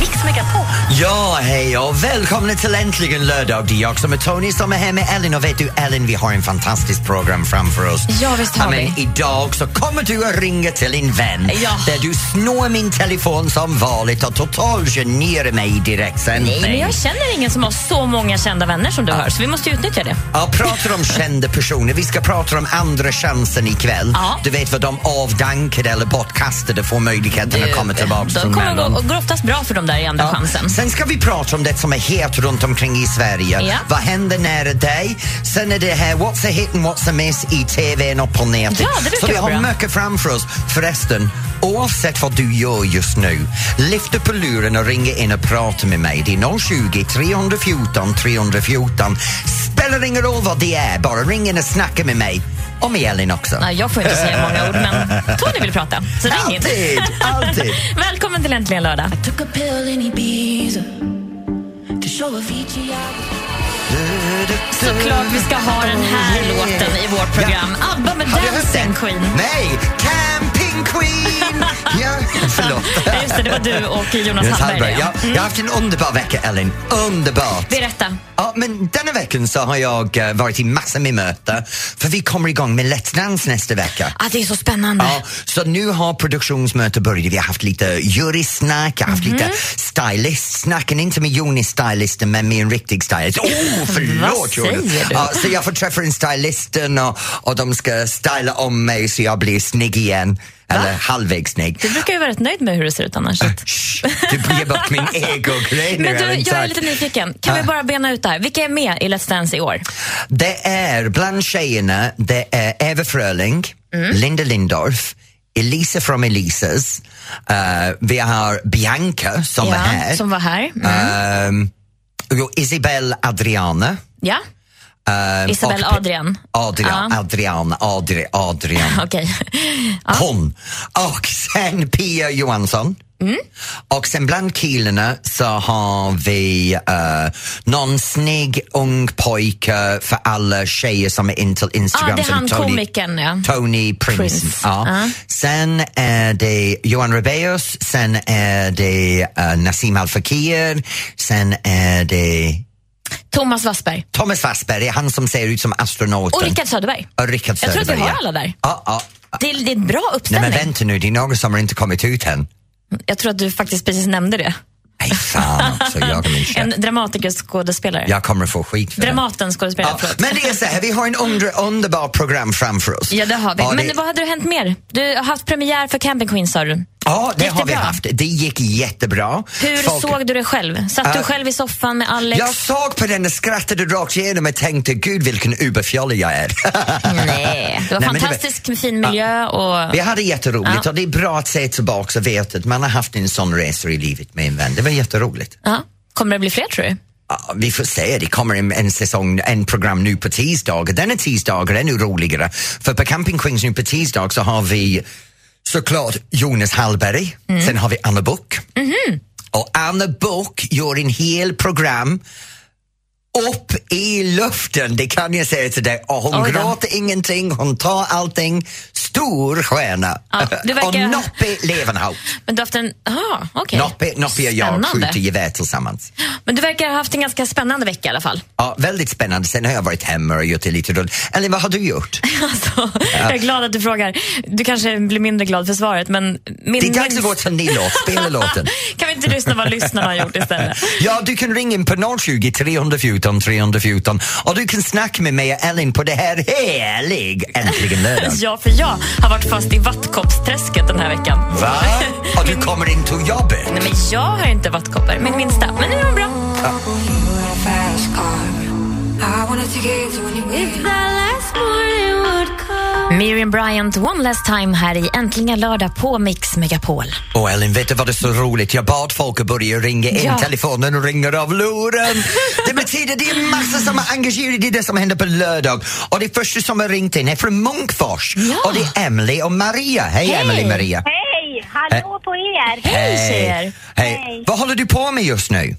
Mix Megapol. Ja, hej och välkomna till Äntligen lördag. Det är jag som är Tony som är här med Ellen. Och vet du Ellen, vi har en fantastisk program framför oss. Ja, visst har men vi. Idag så kommer du att ringa till en vän Ja. där du snor min telefon som vanligt och totalgenerar mig i direktsändning. Nej, men jag känner ingen som har så många kända vänner som du har, så vi måste utnyttja det. Ja, pratar om kända personer. Vi ska prata om andra chansen ikväll. Ja. Du vet vad de avdankade eller bortkastade får möjligheten att komma tillbaka Det från kommer mellan. gå, går oftast bra för de där i Andra Ja. chansen. Sen ska vi prata om det som är het runt omkring i Sverige. Ja. Vad händer nära dig? Sen är det här What's a hit and what's a miss i TVn och på nätet. Ja, det brukar Så vi vara bra. har mycket framför oss. Förresten, oavsett vad du gör just nu, lyft upp på luren och ring in och prata med mig. Det är 020 314 314. Spelar ingen roll vad det är, bara ring in och snacka med mig. Och med Elin också. Nej, jag får inte säga många ord, men Tony vill prata, så ring in. Alltid, alltid. Välkommen till Äntligen lördag. Took a pill in Ibiza to show a Fiji I Såklart vi ska ha den här låten i vårt program. ABBA med Har du hört Dancing den? Queen. Nej, Camping Queen! ja, förlåt. Ja, Just det, det var du och Jonas Jonas Hallberg. Hallberg, ja. Mm. Jag har haft en underbar vecka, Ellen. Underbart! Berätta. Ja, men denna veckan så har jag eh, varit i massor med möten för vi kommer igång med Let's Dance nästa vecka. Ah, det är så spännande. Ja, så nu har produktionsmöte börjat. Vi har haft lite jurysnack, jag har haft Mhm. lite stylistsnack. Inte med Jonis stylisten, men med en riktig stylist. Oh, Vad förlåt! säger Jonas. du? Ja, så jag får träffa en stylisten och, och de ska styla om mig så jag blir snygg igen. Eller halvvägs snygg. Du brukar ju vara rätt nöjd med hur det ser ut annars. Shh, du ger bort min egogrej nu. Alltså, Men du, Ellen, jag är tack. Ah. lite nyfiken. Kan vi bara bena ut det här? Vilka är med i Let's Dance i år? Det är bland tjejerna, det är Eva Fröling, Mm. Linda Lindorff, Elisa från Elisas, eh, vi har Bianca som är här, som var här. Mm. Ehm, jo, Isabel Adriana. ja, ehm, Isabel och- Adrian. Adrian, Ja. Adrian, Adri, Adrian. Okej. Hon. Och sen Pia Johansson. Mm. Och sen bland killarna så har vi eh, någon snygg ung pojke för alla tjejer som är in till Instagram. Ja, Ah, det är som han Tony- komikern. Ja. Tony Prince. Prince, Ja. ja. Sen är det Johan Rabaeus, sen är det uh, Nassim Al Fakir, sen är det Thomas Wassberg. Thomas Wassberg, han som ser ut som astronauten. Och Rickard Söderberg. Och Rickard Jag tror att vi Söderberg, har ja. alla där. Ja, ja. Det är, det är en bra Nej men uppställning. vänta nu, det är några som har inte kommit ut än. jag tror att du faktiskt precis nämnde det. Nej fan också, jag och min En chef. dramatiker skådespelare. Jag kommer att få skit för det. Dramaten skådespelare, Ja, förlåt. men det är så här, vi har en under, underbar program framför oss. Ja, det har vi. Ja, Men vad hade du hänt mer? Du har haft premiär för Camping Queen, sa du. ja, det har vi Jättebra. haft. Det gick jättebra. Hur Folk- såg du det själv? Satt du Äh, själv i soffan med Alex? Jag såg på den och skrattade rakt igenom och tänkte gud vilken uberfjolle jag är. Nej. Det var Nej, men det- fantastisk fin miljö och... Vi hade jätteroligt Ja. och det är bra att se tillbaka och veta att man har haft en sån resa i livet med en vän. Det var jätteroligt. Ja. Kommer det bli fler, tror du? Ja, vi får se, det kommer en, en säsong, en program nu på tisdagar. Denna tisdag är ännu roligare för på Camping Queens nu på tisdag så har vi såklart Jonas Hallberg, Mm. sen har vi Anna Book. Mhm. Och Anna Book gör en hel program upp i luften, det kan jag säga till dig. Och hon Oj då. gråter ingenting, hon tar allting. Stor stjärna. Ja, du verkar- Och Noppe Levenhout. Men du har haft en... Ah, okej. Noppe, Noppe och jag Spännande. skjuter gevär tillsammans. Men du verkar ha haft en ganska spännande vecka i alla fall. Ja, väldigt spännande. Sen har jag varit hemma och gjort det lite runt. Eller vad har du gjort? Alltså, Jag är glad att du frågar. Du kanske blir mindre glad för svaret, men... Min, Det är dags min- för vår turnélåt. Spela låten. Kan vi inte lyssna vad lyssnarna har gjort istället? Ja, du kan ringa in på 020 314 314 och du kan snacka med mig och Ellen på det här härlig Äntligen lördag. Ja, för jag har varit fast i vattkoppsträsket den här veckan. Va? Och du kommer in till jobbet? Nej, men jag har inte vattkoppor, min minsta. Men nu är hon bra. a fast car. I wanna take it to anywhere. Miriam Bryant, One Last Time här i Äntligen lördag på Mix Megapol. Åh Ellen, vet du vad det är så roligt? Jag bad folk att börja ringa in. Ja. Telefonen ringer av luren. Det betyder det är massor som är engagerade i det som händer på lördag. Och det första som har ringt in är från Munkfors. Ja. Och det är Emily och Maria. Hej, Hej. Emily Maria. Hej! Hallå på er! Hej, tjejer. Hej. Hej. Vad håller du på med just nu?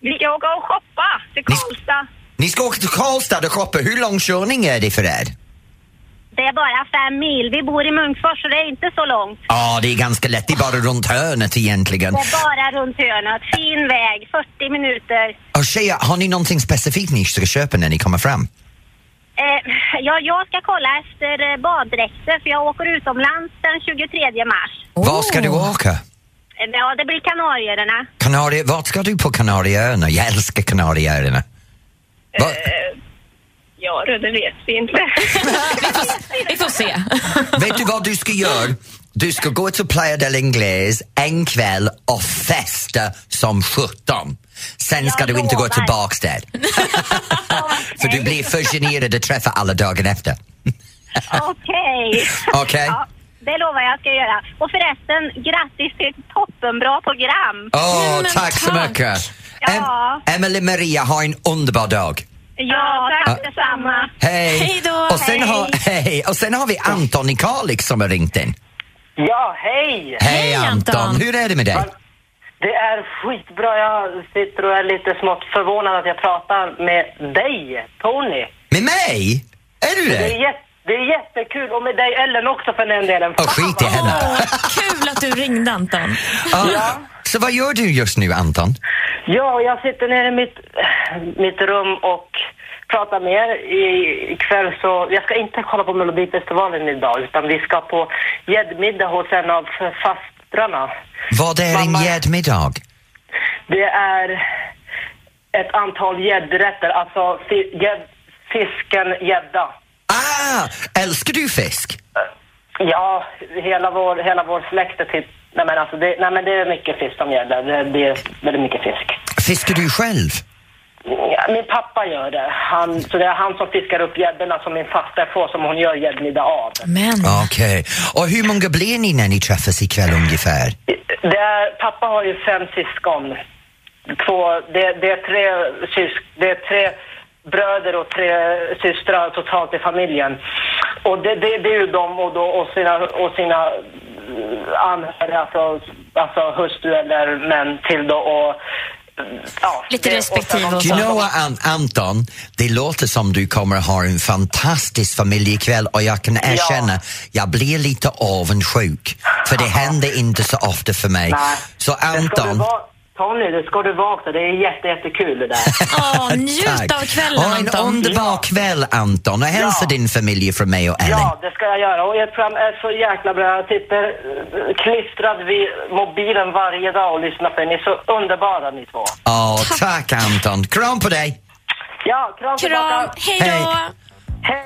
Jag går och shoppar till Ni- Karlstad. Ni ska åka till Karlstad och shoppa. Hur lång körning är det för er? Det är bara fem mil. Vi bor i Munkfors så det är inte så långt. Ja, det är ganska lätt. Det är bara runt hörnet egentligen. Det är bara runt hörnet. Fin väg, 40 minuter. Och tjejer, har ni någonting specifikt ni ska köpa när ni kommer fram? Eh, ja, jag ska kolla efter eh, baddräkter för jag åker utomlands den 23 mars. Oh. Var ska du åka? Eh, Ja, det blir Kanarieöarna. Kanarie, vart ska du på Kanarieöarna? Jag älskar Kanarieöarna. Va? Eh. Ja, det vet vi inte. Vi får se. Vet du vad du ska göra? Du ska gå till Playa del Ingles en kväll och festa som sjutton. Sen ska Jag du inte gå lovar. tillbaks där. För du blir för generad att träffa alla dagen efter. Okej. Okej. Ja, det lovar jag ska göra. Och förresten, grattis till ett toppenbra program. Åh, Men tack, så tack. mycket! Ja. Em- Emily Maria, ha en underbar dag. Ja, tack detsamma. Hej! Hej då. Och sen, Har, hej. Och sen har vi Anton i Kalix som har ringt in. Ja, hej! Hej, Hej, Anton. Anton. Hur är det med dig? Det är skitbra. Jag sitter och är lite smått förvånad att jag pratar med dig, Tony. Med mig? Är du Det det? är, jät- det är jättekul, och med dig Ellen också för den delen. Och skit i henne. Kul att du ringde Anton. Ja. Så vad gör du just nu, Anton? Ja, jag sitter nere i mitt, mitt rum och pratar med er I- ikväll så... Jag ska inte kolla på Melodifestivalen idag utan vi ska på gäddmiddag hos en av fastrarna. Vad är en Mamma- gäddmiddag? Det är ett antal gäddrätter, alltså fi- gädd- fisken gädda. Ah! Älskar du fisk? Ja, hela vår, hela vår släkt är typ... Nej men, alltså det, nej men det är mycket fisk som gäller. Det, det är väldigt mycket fisk. Fiskar du själv? Ja, min pappa gör det. Han, så det är han som fiskar upp gäddorna som min faster får som hon gör gäddmiddag av. Men Okej. Och hur många blir ni när ni träffas ikväll ungefär? Det är, pappa har ju fem syskon. Två, det, det, är tre sysk, det är tre bröder och tre systrar totalt i familjen. Och det, det, det är ju de och, då, och sina, och sina eh, anhöriga, alltså, alltså hustru eller män till då och eh, ja, Lite det- respektive och och Do you sen- så. know what, An- Anton? Det låter som du kommer ha en fantastisk familjekväll och jag kan erkänna, jag blir lite avundsjuk. För det händer inte så ofta för mig. Nej. Så Det ska du Anton... vara, Tony, det ska du vara också. Det är jätte, jättekul det där. åh, njut Tack. av kvällen Ha en Anton. underbar kväll Anton och hälsa Ja. din familj från mig och Ellen. Ja, det ska jag göra. Och ert program är så jäkla bra. Jag sitter eh, klistrad vid mobilen varje dag och lyssnar på er. Ni är så underbara ni två. Ja, tack Anton. Kram på dig. Ja, kram, Kram, tillbaka. hej då. Hej.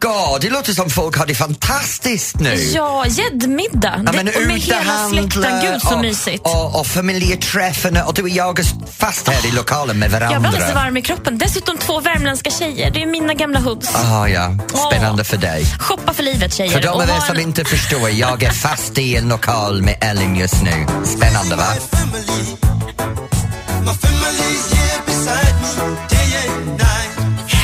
God, det låter som folk har det fantastiskt nu. Ja, gäddmiddag. Ja, Det- men och med ute hela släkten. handla Gud så och, mysigt. Och, och familjeträffarna och du och jag är fast här i lokalen med Jag blir alldeles varandra. varm i kroppen. Dessutom två värmländska tjejer. Det är mina gamla hoods. Ah, ja, spännande för dig. Shoppa för livet tjejer. För de Och av ha er en- som inte förstår, jag är fast i en lokal med Ellen just nu. Spännande va?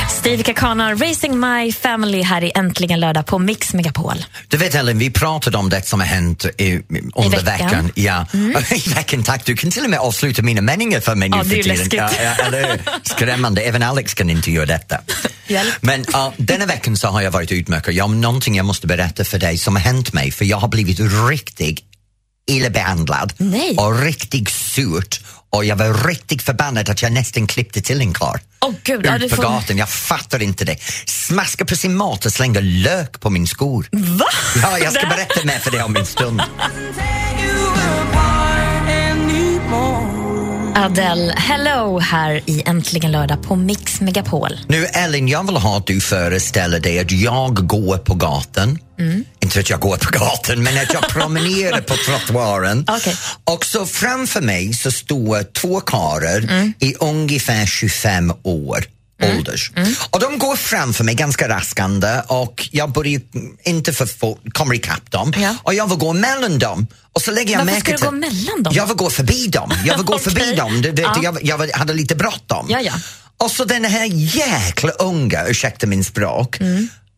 Steve Kakana, Racing My Family här i Äntligen lördag på Mix Megapol. Du vet Ellen, vi pratade om det som har hänt i, under I veckan. Mm. veckan. Ja. I veckan, tack. Du kan till och med avsluta mina meningar för mig nu Ja, för det är ju tiden. läskigt. Ja, ja, eller hur? Skrämmande. Även Alex kan inte göra detta. Hjälp. Men ja, denna veckan så har jag varit utmärkt. Jag har någonting jag måste berätta för dig som har hänt mig för jag har blivit riktigt illa behandlad Nej. och riktigt surt och jag var riktigt förbannad att jag nästan klippte till en karl Åh gud, ja, du ut på får... gatan. Jag fattar inte det. Smaskade på sin mat och slängde lök på min skor. Va? Ja, jag ska berätta mer för dig om en stund. Adele, hello här i Äntligen lördag på Mix Megapol. Nu Ellen, jag vill ha att du föreställer dig att jag går på gatan. Mm. Inte att jag går på gatan, men att jag promenerar på trottoaren. Okej. Och så framför mig så står två karlar Mm. i ungefär 25 år ålders. Mm. Och de går framför mig ganska raskande och jag börjar inte för fort, kommer ikapp dem. Ja. Och jag vill gå mellan dem. Och så lägger jag Varför märke ska du till- gå mellan dem? Jag vill gå förbi dem. Jag vill gå Okej. förbi dem. Du vet, Ja. jag, jag hade lite bråttom. Ja, ja. Och så den här jäkla unga, ursäkta min språk,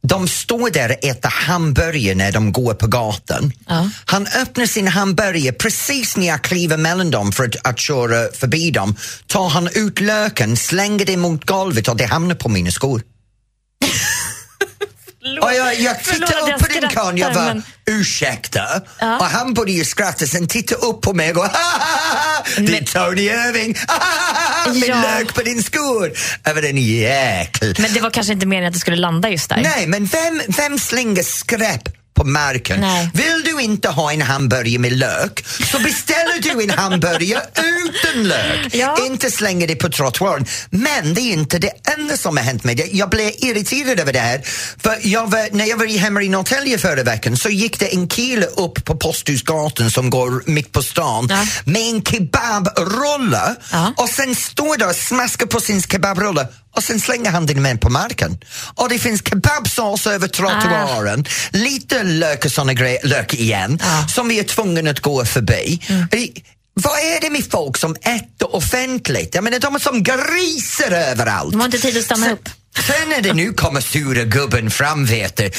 de står där och äter hamburgare när de går på gatan. Ja. Han öppnar sin hamburgare precis när jag kliver mellan dem för att, att köra förbi dem. Tar han ut löken, slänger det mot golvet och det hamnar på mina skor. Förlåt. Och jag, jag Förlåt att tittade upp jag på din karl jag skrattar, var men- ursäkta. Ja. Och han började ju skratta, sen tittade upp på mig och gå det är Men- Tony Irving, min Ja. lök på din skor. Jag var en jäkel. Men det var kanske inte meningen att det skulle landa just där. Nej, men vem, vem slänger skräp på marken? Nej. Vill du inte ha en hamburgare med lök så beställer du en hamburgare utan lök. Ja. Inte slänger det på trottoaren. Men det är inte det enda som har hänt mig. Det- Jag blev irriterad över det här. För jag var, när jag var i- hemma i Norrtälje förra veckan så gick det en kille upp på Posthusgatan som går mitt på stan Ja. med en kebabrulle Ja. och sen står där och smaskar på sin kebabrulle och sen slänger han den med på marken. Och det finns kebabsås över trottoaren, lite lök och såna grejer, lök igen, Ah. Mm. som vi är tvungna att gå förbi. I- Vad är det med folk som äter offentligt? Jag menar, de är som grisar överallt. De har inte tid att stanna upp. Sen när det nu kommer sura gubben fram, vet du,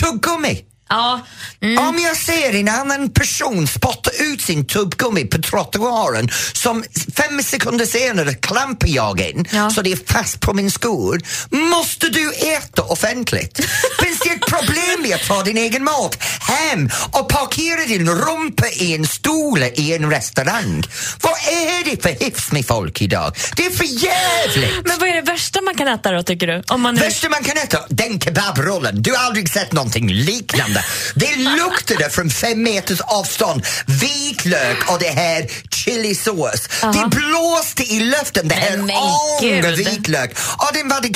tuggummi. Ja, Mm. Om jag ser en annan person spotta ut sin tuggummi på trottoaren som fem sekunder senare klampar jag in Ja. så det är fast på min skor. Måste du äta offentligt? Finns det ett problem med att ta din egen mat hem och parkera din rumpa i en stol i en restaurang? Vad är det för hyfs med folk idag? Det är för jävligt! men vad är det värsta man kan äta då tycker du? Om man nu... Värsta man kan äta, den kebabrullen. Du har aldrig sett någonting liknande. Det luktade från fem meters avstånd vitlök och det här chilisås. Det blåste i luften, det här Men, men ångar gud. vitlök. Och den var det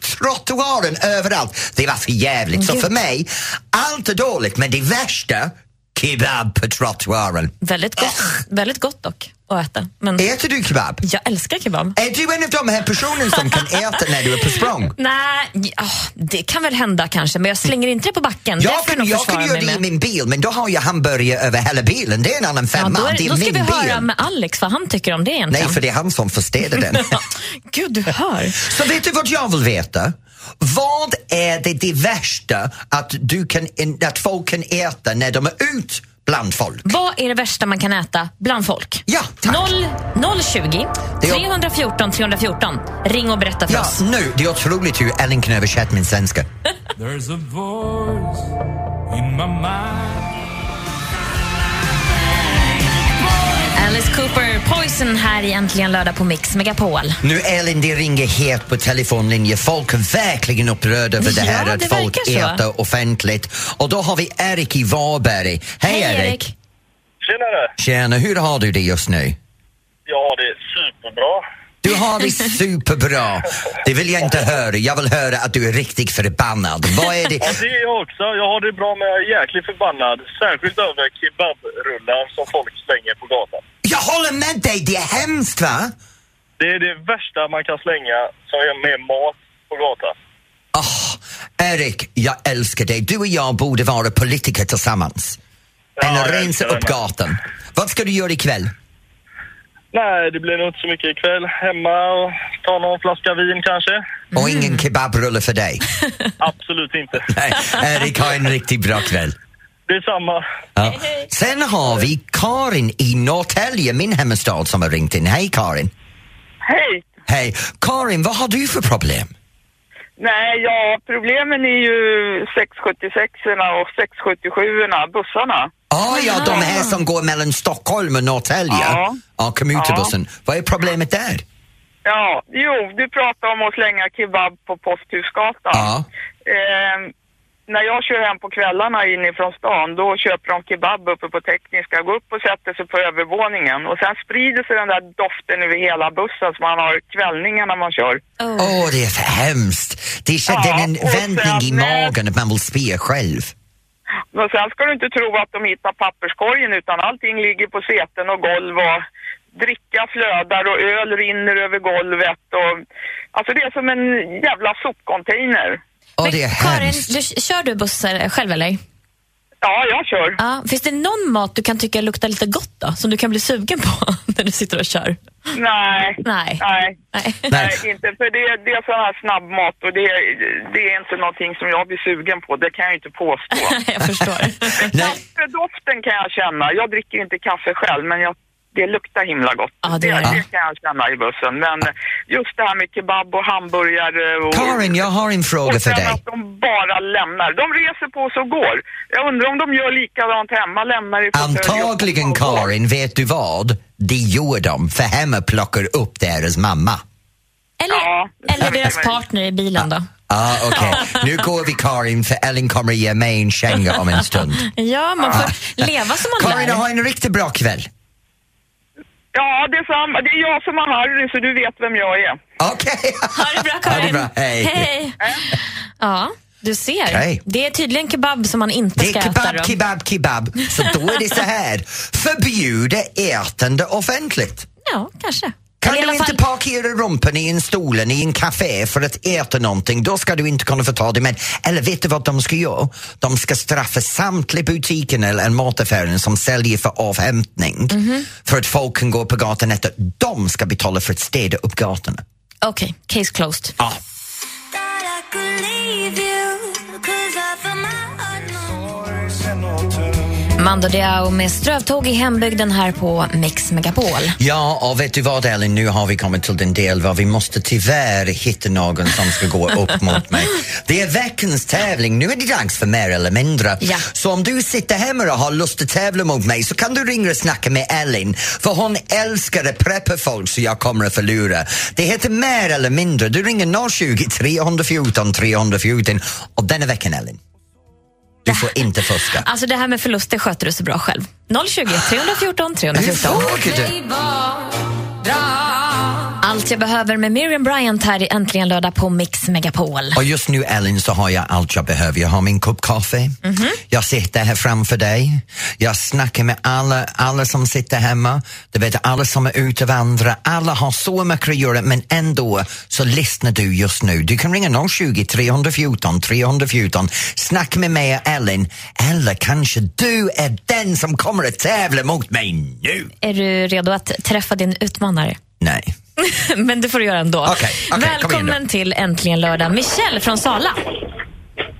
kebabtrottoaren överallt. Det var för jävligt. Så Gud. för mig, allt är dåligt men det värsta, kebab på trottoaren. Väldigt gott, väldigt gott dock att äta. Men Äter du kebab? jag älskar kebab. Är du en av de här personerna som kan äta när du är på språng? Nej, ja, det kan väl hända kanske, men jag slänger inte det på backen. det Jag får kan, nog jag försvara kan göra mig det i med. min bil, men då har jag hamburgare över hela bilen. Det är en annan Ja, femma. då, är, det är då ska min vi höra bil. med Alex vad han tycker om det egentligen. Nej, för det är han som förstädar den. Gud, du hör. Så vet du vad jag vill veta? Vad är det, det värsta att, du kan, att folk kan äta när de är ut bland folk? Vad är det värsta man kan äta bland folk? Ja, tack. 0, 020 Det är- 314 314. Ring och berätta för Ja, oss. nu, det är otroligt hur Ellen kan översätta min svenska. There's a voice in my mind. Alice Cooper, Poison här i Äntligen lördag på Mix Megapol. Nu Elin, det ringer het på telefonlinjen. Folk är verkligen upprörda över det Ja, här att det folk verkar så. äter offentligt. Och då har vi Erik i Varberg. Hej, Erik! Tjenare! Tjena, hur har du det just nu? Jag har det superbra. Du har det superbra. Det vill jag inte höra. Jag vill höra att du är riktigt förbannad. Vad är det? Ja, det är jag också. Jag har det bra men jag är jäkligt förbannad. Särskilt över kebabrullar som folk slänger på gatan. Jag håller med dig, det är hemskt va? Det är det värsta man kan slänga som är med mat på gatan. Oh, Erik, jag älskar dig. Du och jag borde vara politiker tillsammans. Ja, Än jag att älskar rensa upp det med. gatan. Vad ska du göra ikväll? Nej, det blir nog inte så mycket ikväll. Hemma och ta någon flaska vin kanske? Och Mm. ingen kebabrulle för dig. Absolut inte. Nej, Erik, ha en riktigt bra kväll. Det är samma. Ja. Sen har vi Karin i Norrtälje, min hemstad, som har ringt in. Hej Karin! Hej! Hej! Karin, vad har du för problem? Nej, ja, problemen är ju 676orna och 677orna, bussarna. Ah, ja, de här som går mellan Stockholm och Norrtälje. Ja, Ja. commuterbussen. Vad är problemet där? Ja, jo, du pratade om att slänga kebab på Posthusgatan. Ja. Ehm, när jag kör hem på kvällarna inifrån stan, då köper de kebab uppe på Tekniska. Går upp och sätter sig på övervåningen och sen sprider sig den där doften över hela bussen så man har kvällningar när man kör. Åh, Oh. det är för hemskt. Det känns Mm. Ja, det är en och väntning i sen, eh, magen att man vill spy själv. Men sen ska du inte tro att de hittar papperskorgen utan allting ligger på säten och golv och dricka flödar och öl rinner över golvet och alltså det är som en jävla sopcontainer. Åh, Men det är Karin, hemskt. du, kör du bussar själv eller? Ja, jag kör. Ja. Finns det någon mat du kan tycka luktar lite gott då? Som du kan bli sugen på när du sitter och kör? Nej. Nej. Nej. Nej. Nej. Nej, inte för det, det är sån här snabbmat och det, det är inte någonting som jag blir sugen på, det kan jag ju inte påstå. jag förstår. Nej. Kaffedoften kan jag känna, jag dricker inte kaffe själv men jag det luktar himla gott. Ja, det det, gör det. kan jag känna i bussen. Men just det här med kebab och hamburgare och... Karin, jag har en fråga och för sen dig. att de bara lämnar. De reser på sig och går. Jag undrar om de gör likadant hemma, lämnar i fåtölj och- Antagligen, Karin, vet du vad? Det gör de, för hemma plockar upp deras mamma. Eller, eller deras partner i bilen då. Ah, okej. Nu går vi, Karin, för Ellen kommer ge mig en känga om en stund. Ja, man får leva som man Karin, lär. ha en riktigt bra kväll. Ja, det är samma. Det är jag som har Harry, så du vet vem jag är. Okej. Ha det bra, Ha det Karin. bra. Hej. Hej. Ja, du ser. Okej. Det är tydligen kebab som man inte Det ska är äta. kebab, Då. kebab, kebab. Så då är det så här. Förbjuda ätande offentligt. Ja, kanske. Kan Eller i du alla inte fall- parkera rumpan i en stolen i en café för att äta någonting, då ska du inte kunna få ta det med. Eller vet du vad de ska göra? De ska straffa samtliga butiken eller mataffären som säljer för avhämtning Mhm. för att folk kan gå på gatan efter. De ska betala för att städa upp gatorna. Okej, case closed. Ja. Mando Diao med strövtåg i hembygden här på Mix Megapol. Ja, och vet du vad Ellen, nu har vi kommit till den del var vi måste tyvärr hitta någon som ska gå upp mot mig. Det är veckans tävling, nu är det dags för mer eller mindre. Ja. Så om du sitter hemma och har lust att tävla mot mig så kan du ringa och snacka med Ellen, för hon älskar att preppa folk så jag kommer att förlora. Det heter mer eller mindre, du ringer 020 314 314 och denna veckan Ellen, du får inte fuska. Alltså det här med förluster sköter du så bra själv. 020 314 Hur 314. frågar du? Allt jag behöver med Miriam Bryant här i Äntligen lördag på Mix Megapol. Och just nu Ellen så har jag allt jag behöver. Jag har min kopp kaffe, Mhm. jag sitter här framför dig, jag snackar med alla, alla som sitter hemma, du vet alla som är ute och vandrar, alla har så mycket att göra men ändå så lyssnar du just nu. Du kan ringa 020 314 314, snacka med mig och Ellen, eller kanske du är den som kommer att tävla mot mig nu. Är du redo att träffa din utmanare? Nej. Men det får du göra ändå. Okej, okej, kom igen då. Välkommen till Äntligen lördag, Michelle från Sala.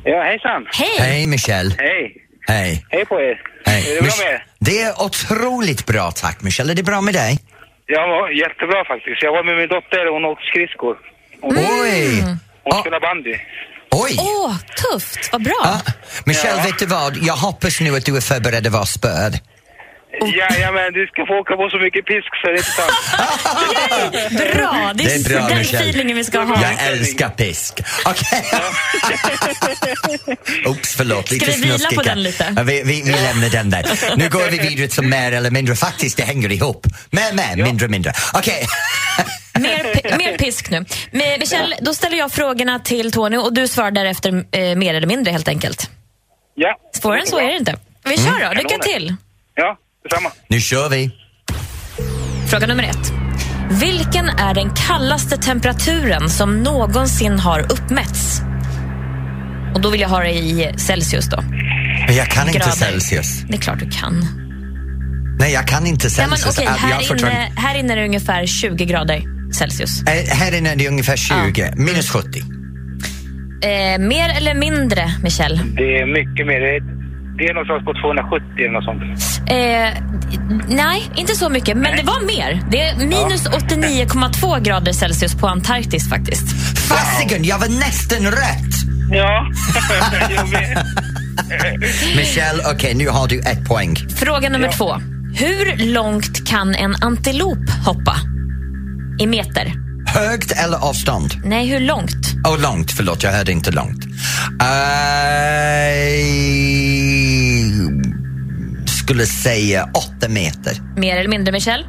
Ja, hejsan. Hej! Hej Michelle. Hej. Hej. Hej på er. Hej. Är det bra med er? det är otroligt bra tack Michelle, är det bra med dig? Jag var jättebra faktiskt. Jag var med min dotter, hon åkte skridskor. Hon, Mm. Oj! hon Ah. spelar bandy. Oj! Åh, tufft! Vad bra. Ja. Michelle, Ja. vet du vad? Jag hoppas nu att du är förberedd att vara spöd. Jajamän, du ska få åka på så mycket pisk så det är inte sant. Ah. Bra! Det är, den feelingen vi ska ha. Jag älskar pisk. Okej. Oops, förlåt. Lite Ska vi vila på snuskigt. den lite? Ja, Vi, vi, vi lämnar den där. Nu går vi vidare till mer eller mindre. Faktiskt, det hänger ihop. Mer, mer, mindre, mindre. Okej. Mer, pi- mer pisk nu. Men Michelle, då ställer jag frågorna till Tony och du svarar därefter eh, mer eller mindre helt enkelt. Ja. Svårare än så är det inte. Vi kör då, Mm, lycka till! Ja, detsamma. Nu kör vi. Fråga nummer ett. Vilken är den kallaste temperaturen som någonsin har uppmätts? Och då vill jag ha det i Celsius då. Men Jag kan inte Grader. Celsius. Det är klart du kan. Nej, jag kan inte Ja, men Celsius. Äh, okej, Jag här, har fortfarande- inne, här inne är det ungefär 20 grader Celsius. Eh, här inne är det ungefär 20, minus 70. Eh, mer eller mindre, Michelle? Det är mycket mer. Det är, det är någonstans på 270 eller något sånt. Eh, nej, inte så mycket, men det var mer. Det är minus 89,2 grader Celsius på Antarktis faktiskt. Fasiken, jag var nästan rätt! Ja. Jo, men- Michelle, okej, nu har du ett poäng. Fråga nummer två. Hur långt kan en antilop hoppa? I meter? Högt eller avstånd? Nej, hur långt? Åh, långt. Förlåt, jag hörde inte långt. Uh, skulle säga åtta meter. Mer eller mindre, Michelle?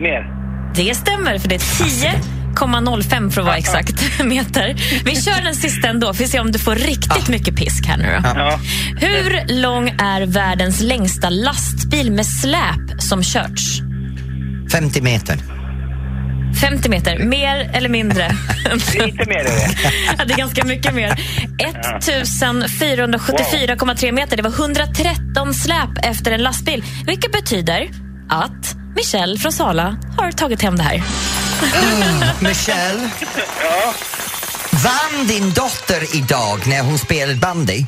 mer. Det stämmer, för det är 10,05 för att vara exakt meter. Vi kör den sista ändå, för vi ser om du får riktigt mycket pisk här nu då. Ja. Hur lång är världens längsta lastbil med släp som körts? 50 meter. 50 meter, mer eller mindre? Lite mer är det. Ja, det är ganska mycket mer. 1474,3 meter. Det var 113 släp efter en lastbil. Vilket betyder att Michelle från Sala har tagit hem det här. Michelle? Vann din dotter idag när hon spelade bandy? Eh,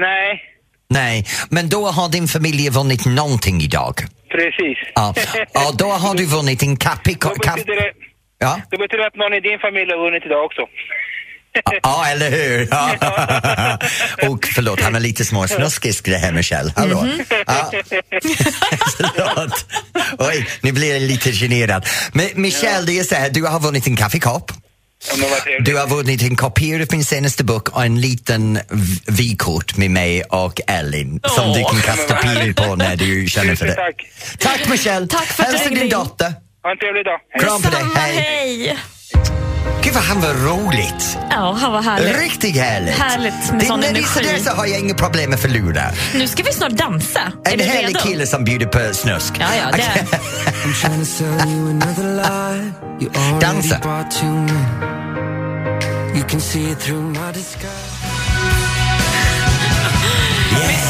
nej, Nej, men då har din familj vunnit någonting idag. precis. Ja. ja, då har du vunnit en kappi... Då Kapp... betyder, det, Ja. då betyder det att någon i din familj har vunnit idag också. ja, eller hur? Ja. Och förlåt, han är lite småsnuskisk det här Michelle. Hallå? Ja. förlåt. Oj, nu blir jag lite generad. Men Michelle, det är så här, du har vunnit en kaffekopp. Du har vunnit en kopia av min senaste bok och en liten v- vykort med mig och Elin som du kan kasta pil på när du känner för det. Tack. Tack Michelle! Tack för att du Hälsa ringde din in. dotter. Ha en trevlig dag. Kram på dig, hej! Hej! Gud vad han var roligt! Ja, han var härlig. Riktigt härligt! Härligt med Det- sån när det är energi. sådär så har jag inga problem med förlora. Nu ska vi snart dansa. är En du härlig redo? kille som bjuder på snusk. Ja, ja, det... I'm trying to sell you another lie. You already Dansa. bought too many. You can see it through my disguise.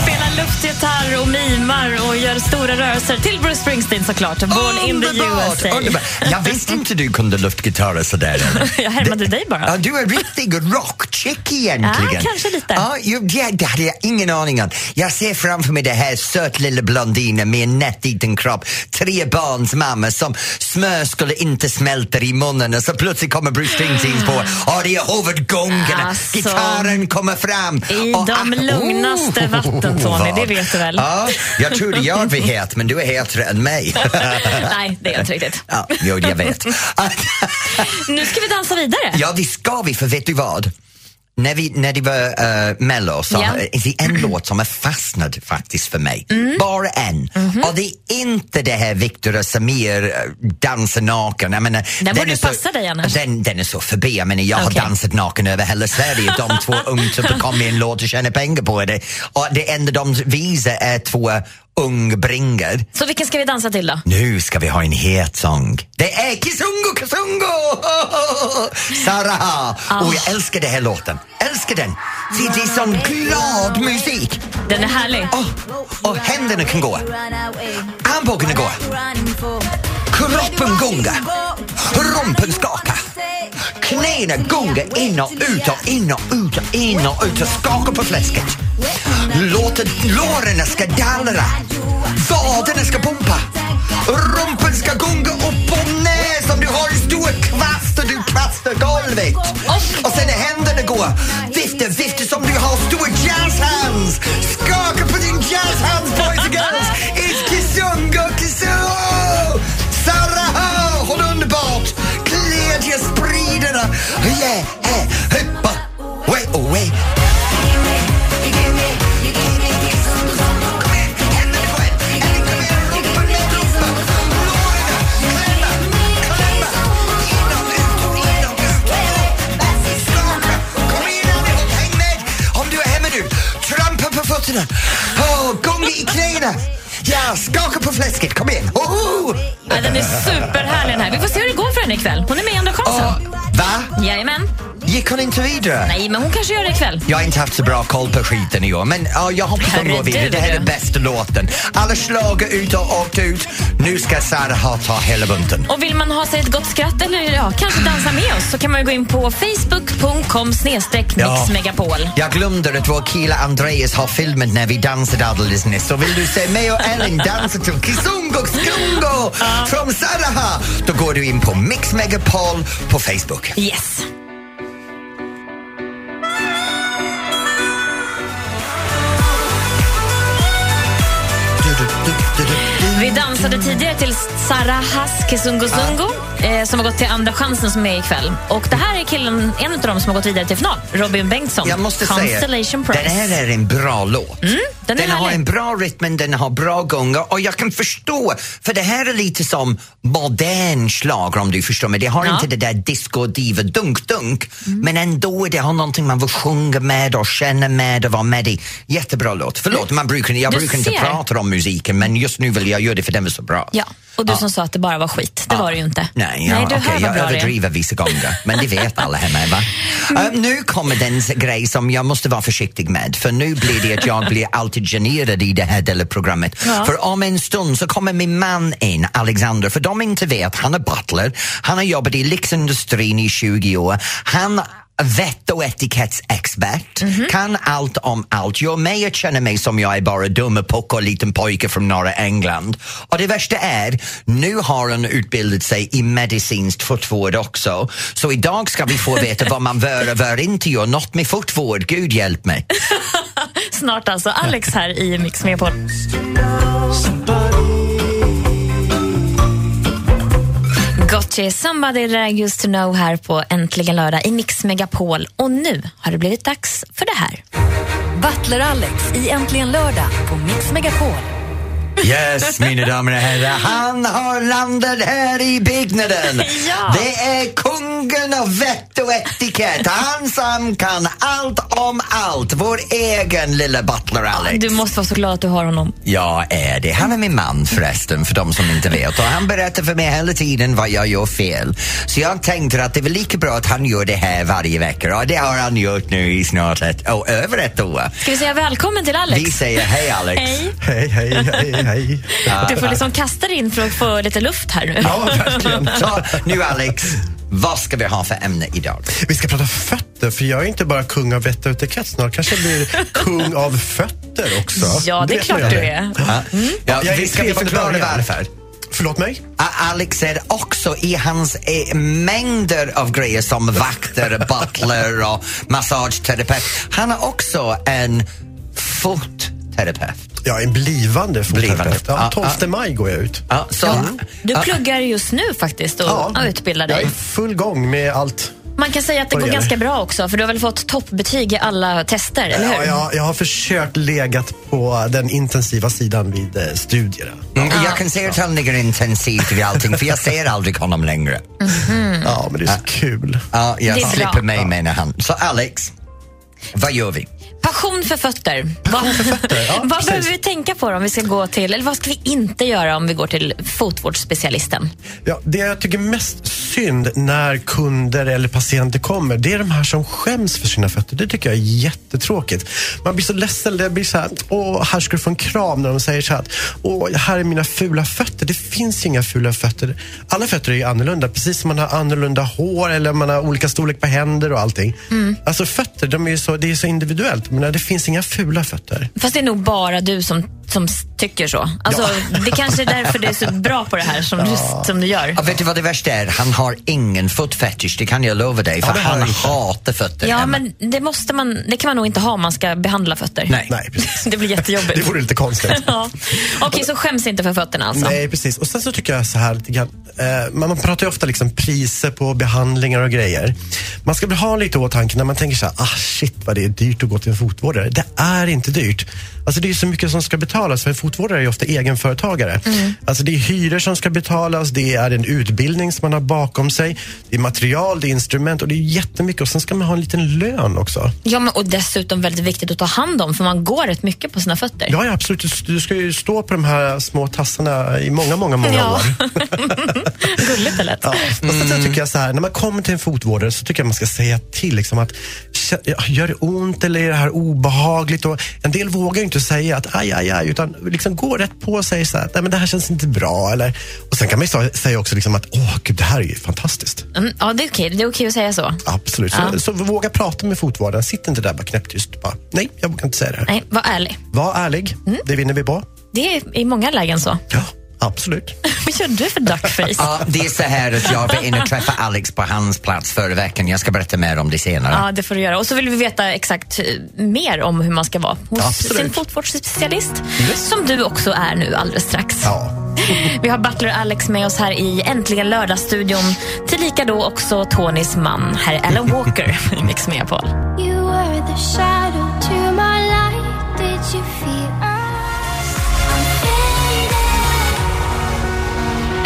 Spelar luftgitarr och mimar och gör stora rörelser till Bruce Springsteen såklart. Born in the Underbart, USA. underbart. Jag visste inte du kunde luftgitarr och sådär. Ellen. Jag härmade dig bara. Ja, du är riktig rockchick egentligen. Ja, kanske lite. Ja, ju- det, det hade jag ingen aning om. Jag ser framför mig det här söt lilla blondinen med en nätt liten kropp, tre barns mamma som smör skulle inte smälta i munnen och så plötsligt kommer Bruce Springsteen på och det är huvudgången, Alltså. gitarren kommer fram. I och de att- Oh! lugnaste vatten, Tony, det vet du väl? Ja, jag trodde jag var het, men du är hetare än mig. Nej, det är inte riktigt. Ja, jo, jag vet. Nu ska vi dansa vidare. Ja, det ska vi, för vet du vad? När, vi, när det var uh, Mello så Ja. är det en låt som är fastnad faktiskt för mig. Mm. Bara en. Mhm. Och det är inte det här Victor och Samir eh, dansa naken. Jag menar, Den borde är så- passa dig annars. Den, den är så förbi. Jag menar, jag Okej. har dansat naken över hela Sverige. De två ungtupparna kom med en låt och tjänade pengar på det. Och det enda de visar är två ungbringer. Så vilken ska vi dansa till då? Nu ska vi ha en het sång. Det är Kizungo Kazungo! Saraha! Och jag älskar den här låten. Älskar den. Det det är sån glad musik. Den är härlig. Och händerna kan gå. Armbågarna går. Kroppen gungar. Rumpen skakar. Knäna gungar in och ut och in och ut och in och ut och skakar på fläsket. Låter låren ska dallra. Vaderna ska pumpa. Rumpen ska gunga upp och ner som du har en stor kvast och du kastar golvet. Och sen när händerna går, vifta, vifta som du har stora jazzhands. Skaka på din jazzhands boys and girls. It's Kizungo Kizoo! Saraha, hon är underbart. Glädje sprider den. Yeah, eh, hippa, way away. Om du är hemma nu, trampa på fötterna. Oh, gång i knäna. Ja, skaka på fläsket. Kom igen. Oh, oh. Ja, den är superhärlig den här. Vi får se hur det går för henne ikväll. Hon är med i Andra chansen. Alltså, Va? Jajamän. Gick hon inte vidare? Nej, men hon kanske gör det ikväll. Jag har inte haft så bra koll på skiten i år, men ja, jag hoppas de går Herregud, vidare. Det här är du. bästa låten. Alla schlager ut och åkt ut. Nu ska Sara ha ta hela bunten. Och vill man ha sig ett gott skratt eller ja, kanske dansa med oss så kan man ju gå in på facebook.com snedstreck mixmegapol. Jag glömde att vår kille Andreas har filmat när vi dansade alldeles nyss. Så vill du se mig och Ellen dansa till Kizungo Skungo från Saraha, då går du in på Mix Megapol på Facebook. Yes. Vi dansade tidigare till Sarahas Kizunguzungu eh, som har gått till Andra chansen som är ikväll. Och det här är killen, en av dem som har gått vidare till final, Robin Bengtsson. Jag måste säga, Constellation Prize. den här är en bra låt. den är har härlig. en bra rytm, den har bra gånger och jag kan förstå, för det här är lite som modern schlager om du förstår mig. Det har Ja. inte det där disco diva dunk dunk Mm. men ändå det har någonting man vill sjunga med och känna med och vara med i. Jättebra låt. Förlåt, man brukar, jag Mm. Du brukar inte ser. prata om musiken men just nu vill jag göra det för den var så bra. Ja, och du som sa att det bara var skit. Det var det ju inte. Nej, ja, du okej, hör vad jag bra det är. överdriver vissa gånger, men det vet alla hemma. Va? Eh, nu kommer den s- grej som jag måste vara försiktig med, för nu blir det att jag blir alltid generad i det här delen programmet. Ja. För om en stund så kommer min man in, Alexander, för de inte vet, han är butler, han har jobbat i lyxindustrin i 20 år, han vett och etikettsexpert, kan allt om allt, gör mig att känna mig som jag är bara dum och pucko, liten pojke från norra England. Och det värsta är, nu har hon utbildat sig i medicinskt fotvård också, så idag ska vi få veta vad man bör och bör inte göra, något med fotvård, gud hjälp mig. Snart alltså. Alex här i Mix Megapol. Gotchi, somebody that I used to know här på Äntligen lördag i Mix Megapol. Och nu har det blivit dags för det här. Butler-Alex i Äntligen lördag på Mix Megapol. Yes, mina damer och herrar, han har landat här i byggnaden. Ja. Det är kungen av vett och etikett. Han som kan allt om allt. Vår egen lilla butler Alex. Du måste vara så glad att du har honom. Jag är det. Han är min man förresten, för de som inte vet. Och han berättar för mig hela tiden vad jag gör fel. Så jag tänkte att det är väl lika bra att han gör det här varje vecka. Och det har han gjort nu i snart ett, oh, över ett år. Ska vi säga välkommen till Alex? Vi säger hej Alex. Hej. Hej, hej, hej, hej. Du får liksom kasta dig in för att få lite luft här nu. Ja, verkligen. Så, nu Alex, vad ska vi ha för ämne idag? Vi ska prata fötter, för jag är inte bara kung av vett och etikett. Snart kanske jag blir kung av fötter också. Ja, det är vet klart man ju du aldrig. är. Ja. Mm. Ja, Jag är vi ska tre vi från förklara början. varför. Förlåt mig? A- Alex är också i hans eh, mängder av grejer som vakter, butler och massageterapeut. Han är också en fotterapeut. Jag är en blivande Blivande. fotterapeut. Ja, Ja, 12 ja. maj går jag ut. Mm. Ja, så, Ja, Du pluggar just nu faktiskt och Ja. ja. utbildar Jag är dig. i full gång med allt. Man kan säga att det Vad går det gäller. ganska bra också, för du har väl fått toppbetyg i alla tester, eller hur? Ja, jag, jag har försökt legat på den intensiva sidan vid eh, studierna. Mm, jag kan säga att han ligger intensivt vid allting för jag ser aldrig honom längre. Ja, men det Äh. är så kul. Ja, jag Det är slipper bra. mig menar han. Så Alex, vad gör vi? Passion för fötter. Vad, ja, vad precis. behöver vi tänka på då om vi ska gå till, eller vad ska vi inte göra om vi går till fotvårdsspecialisten? Ja, det jag tycker mest synd när kunder eller patienter kommer, det är de här som skäms för sina fötter. Det tycker jag är jättetråkigt. Man blir så ledsen. Det blir så här, åh, här ska du få en kram. När de säger så här, att, åh, här är mina fula fötter. Det finns inga fula fötter. Alla fötter är ju annorlunda. Precis som man har annorlunda hår eller man har olika storlek på händer och allting. Mm. Alltså fötter, de är ju så, det är så individuellt. Men det finns inga fula fötter. Fast det är nog bara du som, som s- tycker så. Alltså, Det kanske är därför du är så bra på det här som, du, som du gör. Ja, vet du vad det värsta är? Han har ingen fotfetisch, det kan jag lova dig, för det har han han inte. hatar fötter. Ja, hemma. men det, måste man, det kan man nog inte ha om man ska behandla fötter. Nej. Nej, precis. Det blir jättejobbigt. Det vore lite konstigt. ja. Okej, så skäms inte för fötterna alltså. Nej, precis. Och sen så tycker jag så här lite grann. Eh, man, man pratar ju ofta liksom priser på behandlingar och grejer. Man ska väl ha lite i åtanke när man tänker så här, ah shit vad det är dyrt att gå till en fotvårdare. Det är inte dyrt. Alltså det är ju så mycket som ska betalas för en fotvårdare är ju ofta egenföretagare. Alltså det är hyror som ska betalas, det är en utbildning som man har bakom sig, det är material, det är instrument och det är jättemycket. Och sen ska man ha en liten lön också. Ja, men, och dessutom väldigt viktigt att ta hand om, för man går rätt mycket på sina fötter. Ja, ja, absolut. Du ska ju stå på de här små tassarna i många, många, många Ja. år. Gulligt det lät. Ja. Och sen Mm. så tycker jag så här, när man kommer till en fotvårdare så tycker jag man ska säga till. Liksom att, "Kä- ja, gör det ont eller är det här obehagligt? Och en del vågar ju inte säga att aj, aj, aj, utan liksom går rätt på och säger så här, nej men det här känns inte bra. Eller, och sen kan man ju sa- säga också liksom att, åh gud, det här är ju fantastiskt. Mm, ja, det är okej. Det är okej att säga så. Absolut. Så, Ja. så våga prata med fotvårdaren. Sitt inte där bara knäpptyst. Bara, nej, jag vågar inte säga det här. Nej, Mm. var ärlig. Var ärlig. Det vinner vi på. Det är i många lägen så. Ja, absolut. Vad gör du för duckface? Ja, det är så här att jag var inne och träffade Alex på hans plats förra veckan. Jag ska berätta mer om det senare. Ja, det får du göra. Och så vill vi veta exakt eh, mer om hur man ska vara hos Absolut. sin fotvårdsspecialist, Mm. som du också är nu alldeles strax. Vi har Butler Alex med oss här i Äntligen lördagsstudion. Tillika då också Tonys man, herr Alan Walker, i Mix Megapol. You were the shadow to my light. Did you feel us? I'm faded.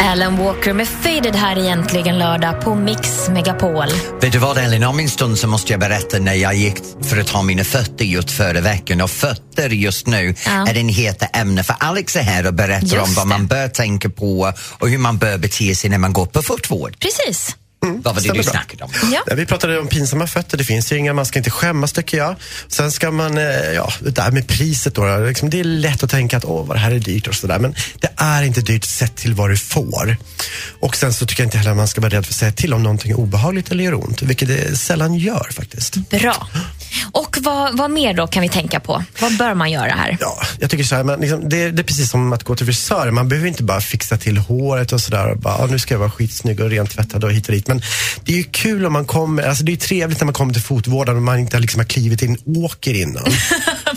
Alan Walker med Faded här i Äntligen lördag på Mix Megapol. Vet du vad Elin, om en stund så måste jag berätta när jag gick för att ta mina fötter just förra veckan och fötter just nu Ja. är en heta ämne för Alex är här och berättar Just om vad man bör tänka på och hur man bör bete sig när man går på fotvård. Precis. Vad var det du Mm, stämmer bra. snackade om? Nej, Vi pratade om pinsamma fötter, det finns ju inga, man ska inte skämmas tycker jag. Sen ska man, eh, ja, det där med priset då. Liksom, det är lätt att tänka att åh, vad det här är dyrt och sådär. Men det är inte dyrt sett till vad du får. Och sen så tycker jag inte heller att man ska vara rädd för att säga till om någonting är obehagligt eller gör ont. Vilket det sällan gör faktiskt. Bra. Och vad, vad mer då kan vi tänka på? Vad bör man göra här? Jag tycker så här, men liksom, det, det är precis som att gå till frisören. Man behöver inte bara fixa till håret och sådär. Och bara, "Ah, nu ska jag vara skitsnygg och rentvättad och hit och dit. Men det är ju kul om man kommer, alltså det är ju trevligt när man kommer till fotvården och man inte liksom har klivit in åker innan.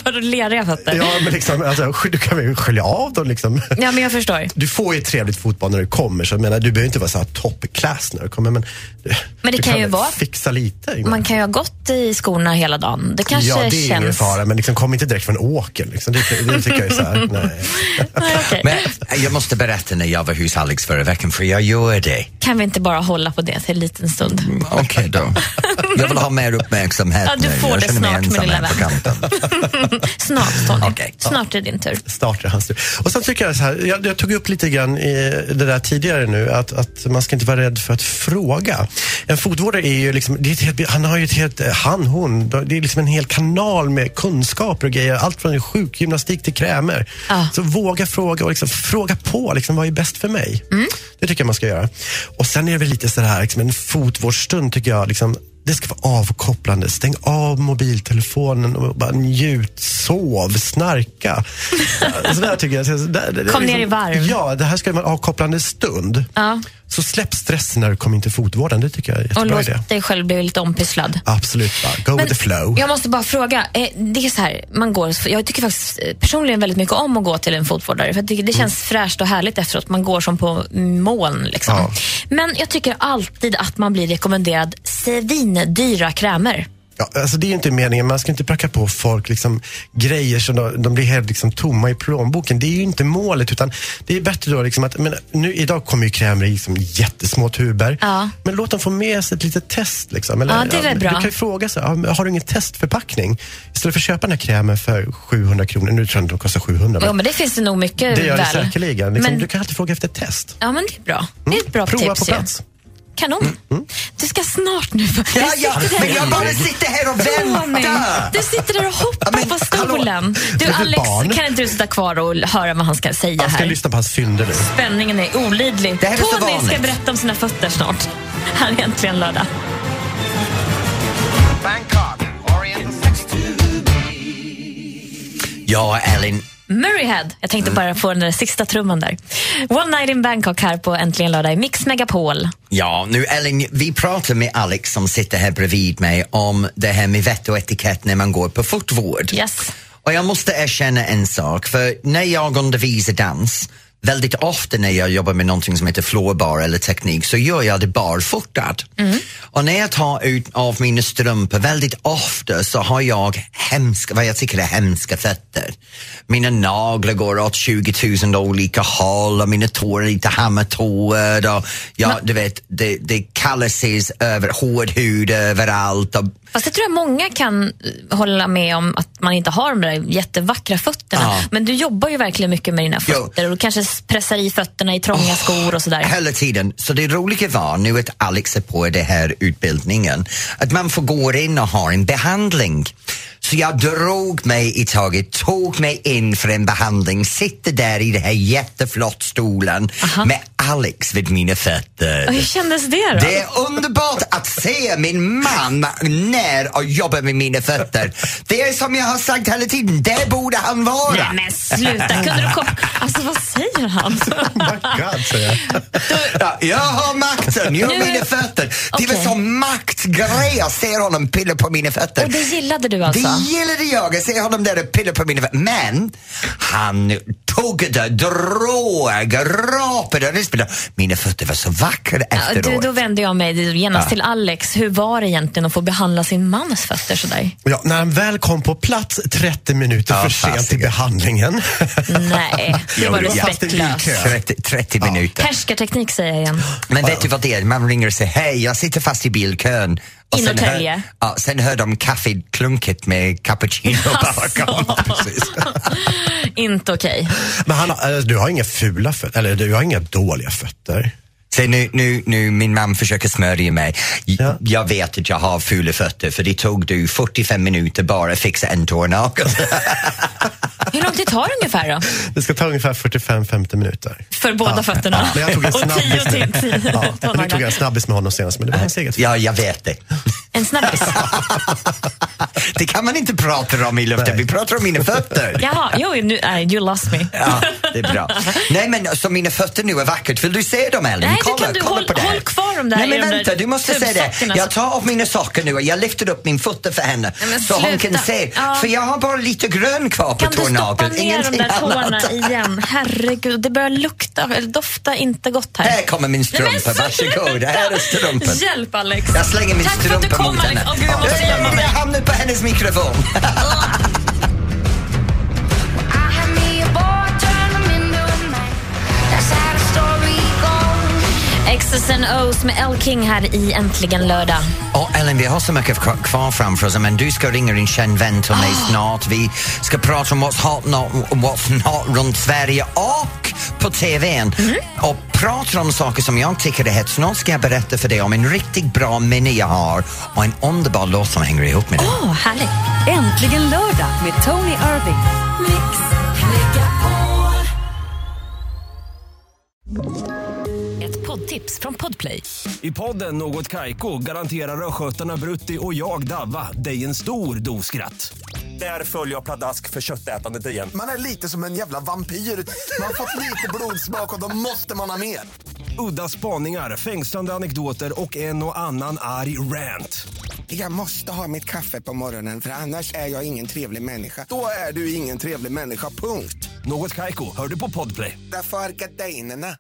Vadå leriga fötter? ja, men liksom, alltså, du kan väl skölja av dem liksom. ja, men jag förstår. Du får ju ett trevligt fotbad när du kommer, så jag menar, du behöver inte vara så här top class när du kommer. Men, Men det du kan ju väl vara- Fixa lite. innan. Man kan ju ha gått i skorna hela dagen. Det kanske ja, det är känns... ingen fara, men liksom, kom inte direkt från åkern. Liksom. Det, det tycker jag är så här, nej. Men eh, jag måste berätta när jag var hos Alex förra veckan, för jag gör det. Kan vi inte bara hålla på det till en liten stund? Mm. Okej då. Jag vill ha mer uppmärksamhet Ja, du nu. får jag det känner mig snart, min ensam lilla här på vän. kanten. Snart, Tony. Snart är din tur. startar hans tur. Och sen tycker jag så här, jag, jag tog upp lite grann i det där tidigare nu, att, att man ska inte vara rädd för att fråga. En fotvårdare är ju liksom, det är ett helt, han har ju ett helt, eh, han, hon, det är liksom en hel kanal med kunskaper och grejer. Allt från sjukgymnastik till krämer. Så våga fråga och liksom, fråga på, liksom, vad är bäst för mig? Mm. Det tycker jag man ska göra. Och sen är det väl lite så här, liksom, en fotvårdsstund tycker jag, liksom, det ska vara avkopplande. Stäng av mobiltelefonen och bara njut, sov, snarka. Sådär tycker jag. Så där- det- det är liksom- Kom ner i varv. Ja, det här ska vara en avkopplande stund. Ja. Så släpp stressen när du kommer in till fotvården. Det tycker jag är en Och jättebra idé. låt dig själv bli lite ompysslad. Absolut. Bara. Men Go with the flow. Jag måste bara fråga. eh, Det är så här, man går, jag tycker faktiskt eh, personligen väldigt mycket om att gå till en fotvårdare. För att det, Mm. det känns fräscht och härligt efteråt. Man går som på moln. Liksom. Ja. Men jag tycker alltid att man blir rekommenderad svindyra krämer. Ja, alltså det är ju inte meningen. Man ska inte pracka på folk liksom, grejer så de, de blir helt liksom, tomma i plånboken. Det är ju inte målet. Utan det är bättre då liksom, att, men, nu, idag kommer ju krämer i liksom, jättesmå tuber. Ja. Men låt dem få med sig ett litet test. Liksom. Eller, Ja, det är väl bra. Du kan ju fråga så här, ja, men har du ingen testförpackning? Istället för att köpa den här krämen för 700 kronor. Nu tror jag inte de kostar 700. Ja, men det finns det nog mycket det gör det väl. säkerligen. Liksom, Men- Du kan alltid fråga efter ett test. Ja, men det är bra. Det är ett bra Prova tips. på ju. plats. Mm, Kanon. Du ska snart nu. Ja, ja, men jag bara sitter här och väntar. Du sitter där och hoppar på stolen. Det Du är för Alex, barn. kan inte du sitta kvar och l- höra vad han ska säga Jag ska här? lyssna på hans fynder nu. Spänningen är olidlig. här är så Tony ska vanligt. berätta om sina fötter snart. Här är äntligen lördag. Ja, Elin. Murrayhead. Jag tänkte bara få den där sista trumman där. One night in Bangkok här på Äntligen lördag i Mix Megapol. Ja, nu Elin, vi pratar med Alex som sitter här bredvid mig om det här med vett och etikett när man går på fotvård. Yes. Och jag måste erkänna en sak, för när jag undervisar dans, väldigt ofta när jag jobbar med någonting som heter flårbar eller teknik, så gör jag det barfotad. Och när jag tar ut av mina strumpor, väldigt ofta så har jag hemska, vad jag tycker är hemska fötter. Mina naglar går åt 20 000 olika håll och mina tår är lite hammartår. Och ja, du vet, det, det kallas över hård hud överallt. Och Fast det tror jag många kan eh, hålla med om att man inte har de där jättevackra fötterna. Ja. Men du jobbar ju verkligen mycket med dina fötter och du kanske s- pressar i fötterna i trånga skor och sådär. Hela tiden. Så det roliga var nu att Alex är på den här utbildningen, att man får gå in och ha en behandling. Så jag drog mig i taget, tog mig in för en behandling, sitter där i den här jätteflott stolen med Alex vid mina fötter. Och hur kändes det då? Det är underbart att se min man när och jobba med mina fötter. Det är som jag har sagt hela tiden, det borde han vara. Nej men sluta, kunde du komma... Alltså vad säger han? God, säger jag. Ja, jag har makten, jag har Nu- mina fötter. Det var Okej. som maktgrej. Jag ser honom pilla på mina fötter. Och det gillade du alltså? Det gillade jag. Jag ser honom där och pillar på mina fötter. Men han tog det, drog, rapade, rispade. Mina fötter var så vackra Ja, efteråt. Du, då vände jag mig genast Ja. till Alex. Hur var det egentligen att få behandla sin mans fötter sådär? Ja, när han väl kom på plats 30 minuter för sent till behandlingen. Mm. Nej, det var respektlöst. 30, 30 minuter. Härskarteknik säger jag igen. Men vet du vad det är? Man ringer och säger hej, jag sitter fast i bilkön. I sen hör, Norrtälje. ja, sen hör de kaffeklunket med cappuccino bakom. Alltså. Inte okej. Men han, har- eh, du har inga fula fötter, eller du har inga dåliga fötter. Så nu, nu, nu min mamma försöker smörja mig. J- Jag vet att jag har fula fötter för det tog du 45 minuter bara att fixa en tånagel. Hur lång tid tar det ungefär då? Det ska ta ungefär 45-50 minuter. För båda fötterna? Men jag tog en och snabbis. tio och tio, tio. Ja, men nu tog jag en snabbis med honom senast, men det var hans eget Ja, jag vet det. En snabbis? Det kan man inte prata om i luften. Vi pratar om mina fötter. Jaha, jo, nu, nej, you lost me. Ja, det är bra. Nej, men så mina fötter nu är vackert. Vill du se dem, Ellen? Nej, det kolla, kan du. kolla Håll- på det här. håll kvar dem där Nej, i men de där vänta, du måste se det. tubsockorna Jag som- tar av mina saker nu och jag lyfter upp min fötter för henne Nej, men så hon sluta. kan se. Ja. För jag har bara lite grön kvar på Kan du stoppa tånageln. ner de där tårna annat. igen? Herregud, det börjar lukta, eller dofta inte gott här. Här kommer min Nej, men strumpa, varsågod. sluta! Här är strumpen. Hjälp Alex. Jag slänger min Tack för att du strumpa kom mot Alex. henne. Åh, gud, jag måste Nej, gömma men mig. Jag hamnade på hennes mikrofon. I had me a boy, turn him into a man. That's how the story goes. X's and O's med L King här i Äntligen lördag. Och Ellen, vi har så mycket k- kvar framför oss, men du ska ringa din känd vän till mig Ah. snart. Vi ska prata om what's hot, not, what's not runt Sverige och på TVn. Mm. Och prata om saker som jag tycker är hett. Snart ska jag berätta för dig om en riktigt bra meny jag har och en underbar låt som hänger ihop med det. Åh, oh, härligt! Äntligen lördag med Tony Irving. Mix, Ett poddtips från Podplay. I podden Något Kaiko garanterar östgötarna Brutti och jag, Davva, dig en stor dos skratt. Där följer jag pladask för köttätandet igen. Man är lite som en jävla vampyr. Man har fått lite blodsmak och då måste man ha mer. Udda spaningar, fängslande anekdoter och en och annan arg rant. Jag måste ha mitt kaffe på morgonen för annars är jag ingen trevlig människa. Då är du ingen trevlig människa, punkt. Något Kaiko, hör du på Podplay. Därför arkadeinerna.